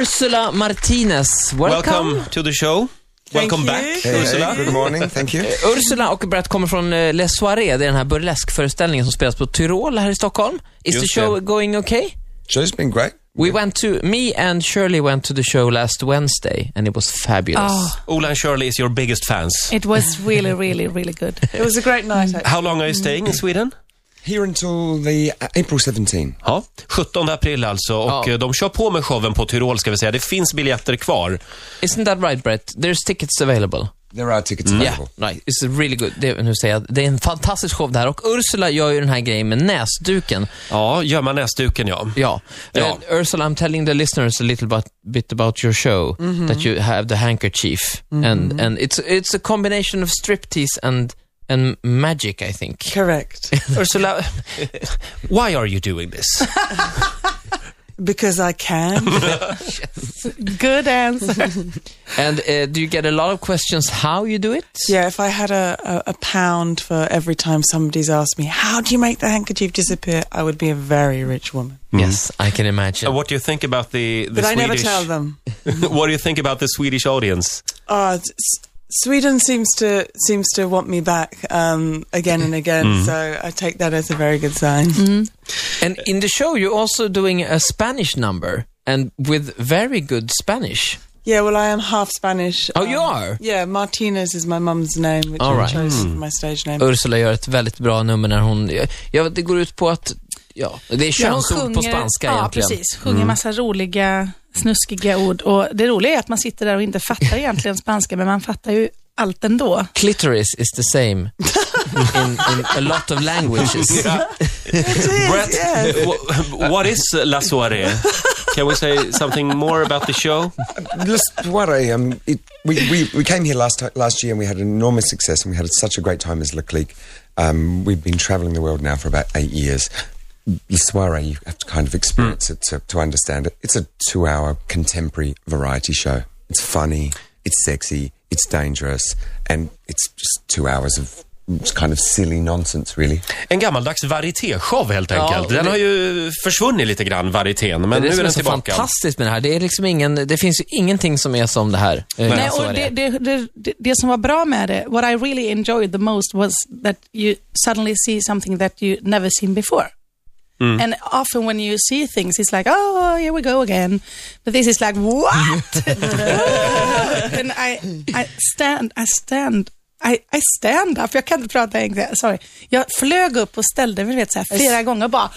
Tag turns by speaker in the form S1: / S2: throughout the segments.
S1: Ursula Martinez, welcome.
S2: Welcome to the show.
S1: Thank
S2: Welcome
S1: you.
S2: back,
S3: Hey,
S2: Ursula.
S3: hey, good morning, thank you.
S1: Eh, Ursula och Brett kommer från eh, Les Soirées, det är den här burleskföreställningen som spelas på Tyrol här i Stockholm. Is
S2: Just
S1: the show
S2: det.
S1: going okay?
S3: Show's been great.
S1: We went to, me and Shirley went to the show last Wednesday and it was fabulous.
S4: Oh,
S2: Ola and Shirley is your biggest fans.
S4: it was really, really, really good.
S5: It was a great night. actually.
S2: How long are you staying
S5: Mm.
S2: in Sweden?
S3: Here until the uh, April 17.
S2: Ja, 17 april alltså och
S1: Ja.
S2: eh, de kör på med showen på Tyrol ska vi säga. Det finns biljetter kvar.
S1: Isn't that right Brett? There's tickets available.
S3: There are tickets
S1: Yeah,
S3: available.
S1: right. It's really good. Det, nu säger jag, det är en fantastisk show det här och Ursula gör ju den här grejen med näsduken.
S2: Ja, gömma näsduken ja.
S1: Ja.
S2: Ja.
S1: Uh, Ursula, I'm telling the listeners a little bit, bit about your show,
S4: Mm-hmm.
S1: that you have the handkerchief. And, and it's, it's a combination of striptease and, and magic, I think.
S5: Correct.
S2: Ursula, why are you doing this?
S5: Because I can.
S4: Good answer.
S1: And uh, do you get a lot of questions how you do it?
S5: yeah, if I had a, a, a pound for every time somebody's asked me, how do you make the handkerchief disappear? I would be a very rich woman.
S1: Yes, I can imagine.
S2: Uh, What do you think about the, the
S5: But I
S2: Swedish...
S5: never tell them.
S2: What do you think about the Swedish audience?
S5: Uh, s- s- Sweden seems to seems to want me back um, again and again,
S1: Mm.
S5: so I take that as a very good sign.
S1: and in the show, you're also doing a Spanish number, and with very good Spanish.
S5: Yeah, well, I am half Spanish. Um,
S1: Oh, you
S4: Um,
S1: are?
S5: Yeah, Martinez is my mum's name, which
S1: All
S5: I
S1: right. Mm. Oh,
S5: chose for my stage name.
S1: Ursula gör ett väldigt bra nummer när hon... Ja, det går ut på att... Ja, det är
S4: Ja, hon
S1: könsord på spanska
S4: ja,
S1: egentligen. Mm.
S4: precis. Sjunger massa roliga, snuskiga ord. Och det roliga är att man sitter där och inte fattar egentligen spanska, men man fattar ju allt ändå.
S1: clitoris is the same in, in a lot of languages.
S2: Brett, wh- what is La Soirée? Can we say something more about the show?
S3: Les Poirets, um, it, we, we, we came here last, ti- last year and we had enormous success and we had such a great time as Le Clique. Um, we've been travelling the world now for about eight years. Le Soiree, you have to kind of experience it to, to understand it. It's a two hour contemporary variety show. It's funny, it's sexy, it's dangerous, and it's just two hours of kind of silly nonsense, really.
S2: En gammaldags varietéshow helt
S1: Ja,
S2: enkelt.
S1: och
S2: Den
S1: det-
S2: har ju försvunnit lite grann, varietén, men
S1: Men det
S2: nu är
S1: som är
S2: den
S1: så
S2: tillbaka.
S1: fantastiskt med det här, det, är liksom ingen, det finns ju ingenting som är som det här. Eh,
S4: Nej,
S1: så är
S4: och det, det, det, det, det som var bra med det, what I really enjoyed the most was that you suddenly see something that you never seen before.
S1: Mm.
S4: And often when you see things, it's like, oh, here we go again. But this is like, what? and I, I stand, I stand. I, I stand up. Jag kan inte prata engelska. Sorry. Jag flög upp och ställde mig vet, så här, flera gånger bara.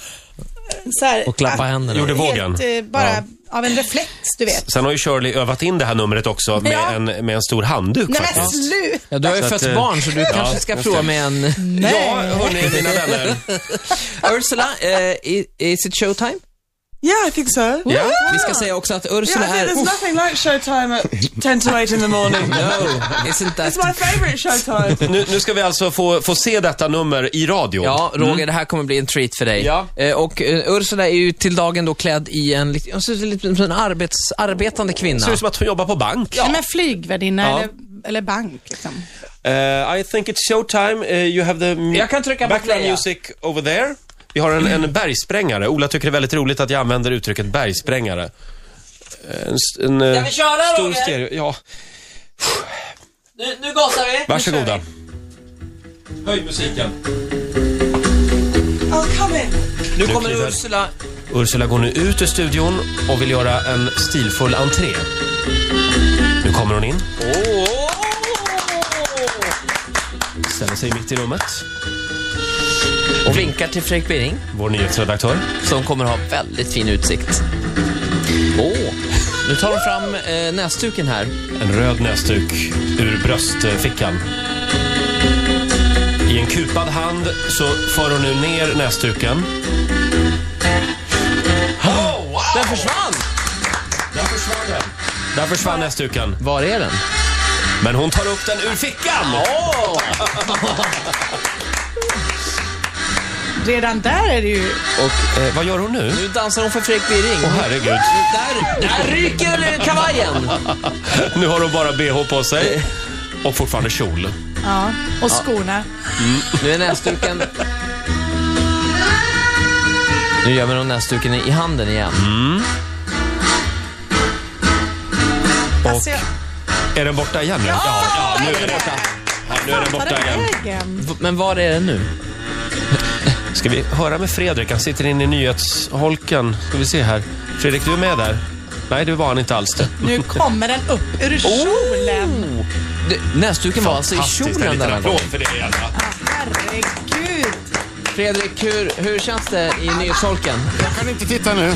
S4: Så här,
S1: Och klappa händerna.
S2: Gjorde
S4: helt,
S2: vågen.
S4: eh, bara av en reflex, du vet.
S2: Sen har ju Shirley övat in det här numret också med,
S4: Ja.
S2: en, med en stor handduk
S4: Nej men
S2: faktiskt.
S4: sluta!
S1: Ja, du har ju
S2: Så att,
S1: fött
S2: eh,
S1: barn, så du
S2: ja,
S1: kanske ska
S2: just
S1: prova
S2: det.
S1: med en...
S2: Ja, hörni, mina vänner.
S1: Ursula, eh, i- is it showtime?
S5: Yeah, I think so.
S2: Ja.
S1: Vi ska säga också att
S5: Yeah,
S1: Ursula
S5: I think
S1: är...
S5: there's nothing like showtime at 10 to 8 in the morning.
S1: No, isn't that...
S5: It's my favourite showtime.
S2: Nu, nu ska vi alltså få, få se detta nummer i radio.
S1: Ja, Roger, det här kommer bli en treat för dig.
S2: Mm. Ja.
S1: Eh, och eh, Ursula är ju till dagen då klädd i en, lik- hon ser ut lite som en arbets, arbetande kvinna.
S2: Ser ut som att hon jobbar på bank.
S4: Nej, men flygvärdinna
S2: Ja.
S4: eller, eller bank. Liksom.
S2: Eh, I think it's showtime. Eh, you have the m-
S1: Jag kan trycka på
S2: background
S1: play, ja.
S2: music over there. Vi har en, en bergsprängare. Ola tycker det är väldigt roligt att jag använder uttrycket bergsprängare. Eh, En, s- en, eh,
S1: vi köra,
S2: stor
S1: Roger?
S2: stereo. Ja,
S1: Nu, nu gasar vi!
S2: varsågoda. Höj musiken.
S5: I'll Oh, come in.
S1: Nu kommer
S2: kliver-
S1: Ursula.
S2: Ursula går nu ut ur studion och vill göra en stilfull entré. Nu kommer hon in, ställer sig mitt i rummet.
S1: Och vinkar till Fredrik Bering,
S2: Vår nyhetsredaktör.
S1: som kommer ha väldigt fin utsikt. Åh! Nu tar hon fram eh, näsduken här.
S2: En röd näsduk ur bröstfickan. I en kupad hand så för hon nu ner näsduken. Oh, wow!
S1: Den försvann!
S2: Där försvann den. Där försvann näsduken.
S1: Var är den?
S2: Men hon tar upp den ur fickan!
S1: Åh!
S4: Redan där är det ju...
S2: Och eh, vad gör hon nu?
S1: Nu dansar hon för Fredrik Bering.
S2: Åh herregud.
S1: Där, där ryker kavajen!
S2: Nu har hon bara bh på sig. Och fortfarande kjol.
S4: Ja, och skorna.
S1: Nu är näsduken... Nu gömmer hon näsduken i handen igen.
S4: Alltså, jag
S2: Är den borta igen nu? Ja, ja, nu är den borta. Ja, nu är den borta
S4: fattade
S2: igen.
S4: vägen.
S1: V- Men var är den nu?
S2: Ska vi höra med Fredrik? Han sitter inne i nyhetsholken. Ska vi se här. Fredrik, du är med där? Nej, det var han inte alls.
S4: Nu kommer den upp
S2: Oh!
S4: ur kjolen.
S1: Det, näsduken var alltså i kjolen
S2: den
S1: denna
S2: här
S1: gång.
S2: gången. för det igen. va?
S4: Herregud.
S1: Fredrik, hur, hur känns det i nyhetsholken?
S6: Jag kan inte titta nu.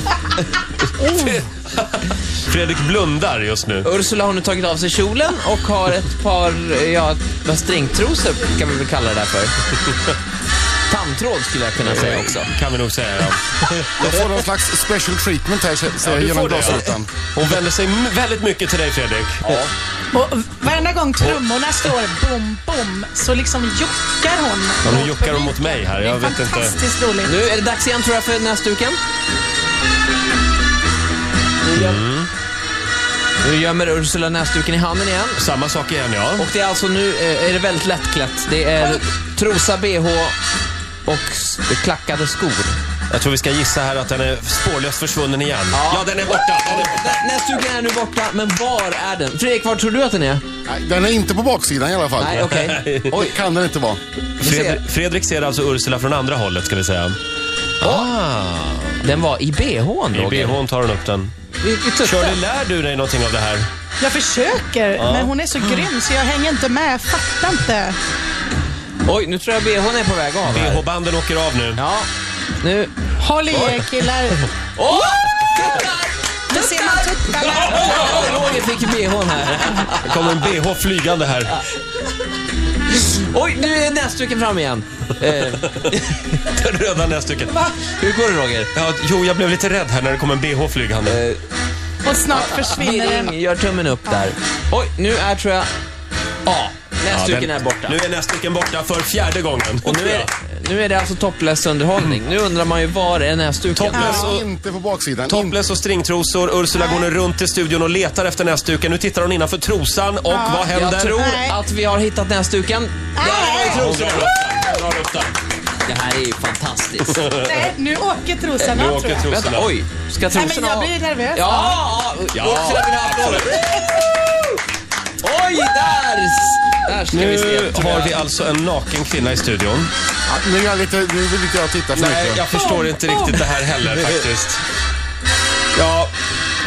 S2: Fredrik blundar just nu.
S1: Ursula har nu tagit av sig kjolen och har ett par, eh, ja, vad stringtrosor kan vi väl kalla det där för. Tandtråd skulle jag kunna säga också.
S2: Kan vi nog säga. Ja.
S6: Jag får någon slags special treatment här ser ser jag
S2: du
S6: genom
S2: får det, ja.
S6: glasrutan.
S2: Hon vänder sig m- väldigt mycket till dig, Fredrik.
S4: Och varenda gång trummorna slår bom, bom, så liksom jockar hon.
S2: Ja, nu jockar hon mot mig här. Jag
S4: det är
S2: vet inte.
S4: fantastiskt roligt.
S1: Nu är det dags igen tror jag för näsduken. Nu göm-
S2: Mm.
S1: Nu gömmer Ursula näsduken i handen igen.
S2: Samma sak igen, ja.
S1: Och det är alltså nu eh, är det väldigt lättklätt. Det är trosa, bh och s- klackade skor.
S2: Jag tror vi ska gissa här att den är spårlöst försvunnen igen. Ja, den är borta. Den är borta.
S1: Nä- Näsduken är nu borta, men var är den? Fredrik, var tror du att den är?
S6: Nej, den är inte på baksidan i alla fall.
S1: Nej, okej.
S6: Oj, kan den inte vara.
S1: Vi ser.
S2: Fredri- Fredrik ser alltså Ursula från andra hållet, ska vi säga.
S1: Ah. Den var i bhn,
S2: I
S1: Roger.
S2: bhn tar hon upp den.
S1: Vi, vi
S2: Shirley,
S1: tuttar.
S2: lär du dig någonting av det här?
S4: Jag försöker, men hon är så grym så jag hänger inte med. Jag fattar inte.
S1: Oj, nu tror jag bhn är på väg av. här.
S2: BH-banden åker av nu.
S1: Ja, nu.
S4: Håll i er killar.
S1: Åh!
S4: Nu ser man tuttarna.
S1: Roger fick bhn här.
S2: Det kommer en bh flygande här.
S1: Oj, nu är näsduken fram igen. Eh,
S2: Den röda näsduken.
S1: hur går det, Roger?
S2: Ja, jo, jag blev lite rädd här när det kom en bh
S1: Eh,
S2: flygande.
S4: Och snart försvinner den.
S1: Birring gör tummen upp där. Oj, nu är tror jag A.
S2: Ja,
S1: Näsduken
S2: den-
S1: är borta.
S2: Nu är näsduken borta för fjärde gången.
S1: Och nu är, nu är det alltså topless underhållning. Nu undrar man ju var är näsduken?
S2: Topless och,
S6: Inte på baksidan.
S2: topless och stringtrosor. Ursula går nu runt i studion och letar efter näsduken. Nu tittar hon innanför trosan och vad händer?
S1: Jag tror
S4: Nej.
S1: att vi har hittat näsduken.
S4: Nej.
S2: Hon drar upp den. Hon drar upp den.
S1: Det här är ju fantastiskt.
S4: Nej, nu åker trosorna
S2: Nu
S4: av, tror
S2: åker
S4: jag.
S1: Vänta,
S2: trosorna.
S1: oj. Ska
S4: Nej,
S1: trosorna
S4: men jag
S1: ha-
S4: blir nervös.
S1: Ja! ja. Ursula vill ha applåder. Oj, där! Där ska vi se.
S2: Nu har vi alltså en naken kvinna i studion.
S6: Ja, nu, är jag lite, nu vill inte jag titta för
S2: Nej,
S6: mycket.
S2: jag förstår inte riktigt det här heller faktiskt. Ja,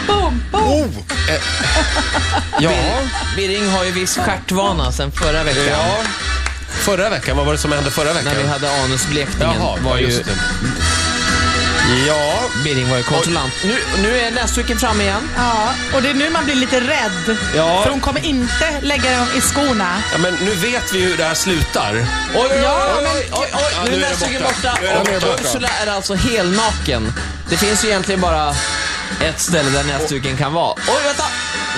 S4: Boom, boom.
S6: Oh, eh,
S2: ja,
S1: Birring har ju viss stjärtvana sen förra veckan.
S2: ja. Förra veckan, vad var det som hände förra veckan?
S1: När vi hade anusblekningen
S2: Jaha,
S1: var ju
S2: just det. Ja,
S1: Birring var ju kontrollant. Nu, nu är näsduken framme igen.
S4: Ja, och det är nu man blir lite rädd.
S2: Ja.
S4: För hon kommer inte lägga dem i skorna.
S2: ja, men nu vet vi ju hur det här slutar.
S1: Oj, oj,
S4: Ja, men-
S1: oj, oj,
S2: Ja,
S1: nu
S2: nu
S1: är
S2: är den
S1: näsduken
S2: borta.
S1: borta.
S2: Nu är den
S1: Och
S6: borta.
S1: Ursula är alltså helnaken. Det finns ju egentligen bara ett ställe där näsduken kan vara. Oj, vänta!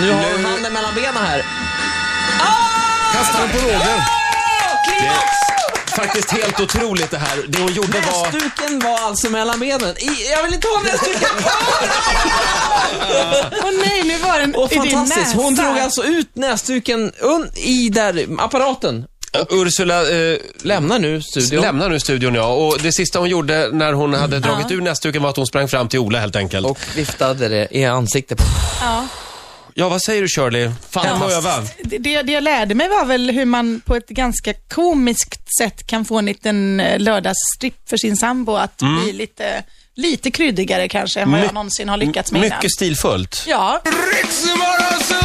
S1: Nu har hon handen mellan benen här. Ah!
S6: kasta den på Roger.
S2: Faktiskt helt otroligt det här. Det hon gjorde var...
S1: Näsduken var alltså mellan benen. I, jag vill inte ha näsduken!
S4: Åh nej, nu var den
S1: Och
S4: i din
S1: fantastiskt,
S4: näsa.
S1: hon drog alltså ut näsduken un, i där apparaten.
S2: Ursula eh,
S1: Lämnar nu studion.
S2: lämnar nu studion, ja. Och det sista hon gjorde när hon hade dragit ur näsduken var att hon sprang fram till Ola helt enkelt.
S1: och viftade det i ansiktet på
S4: Ja.
S2: Ja, vad säger du Shirley? Hem och öva.
S4: Det- Det, det jag lärde mig var väl hur man på ett ganska komiskt sätt kan få en liten eh, lördagsstripp för sin sambo att bli lite, lite kryddigare kanske än vad jag någonsin har lyckats med innan.
S2: Mycket stilfullt.
S4: Ja,
S7: Riksmorgonzoo!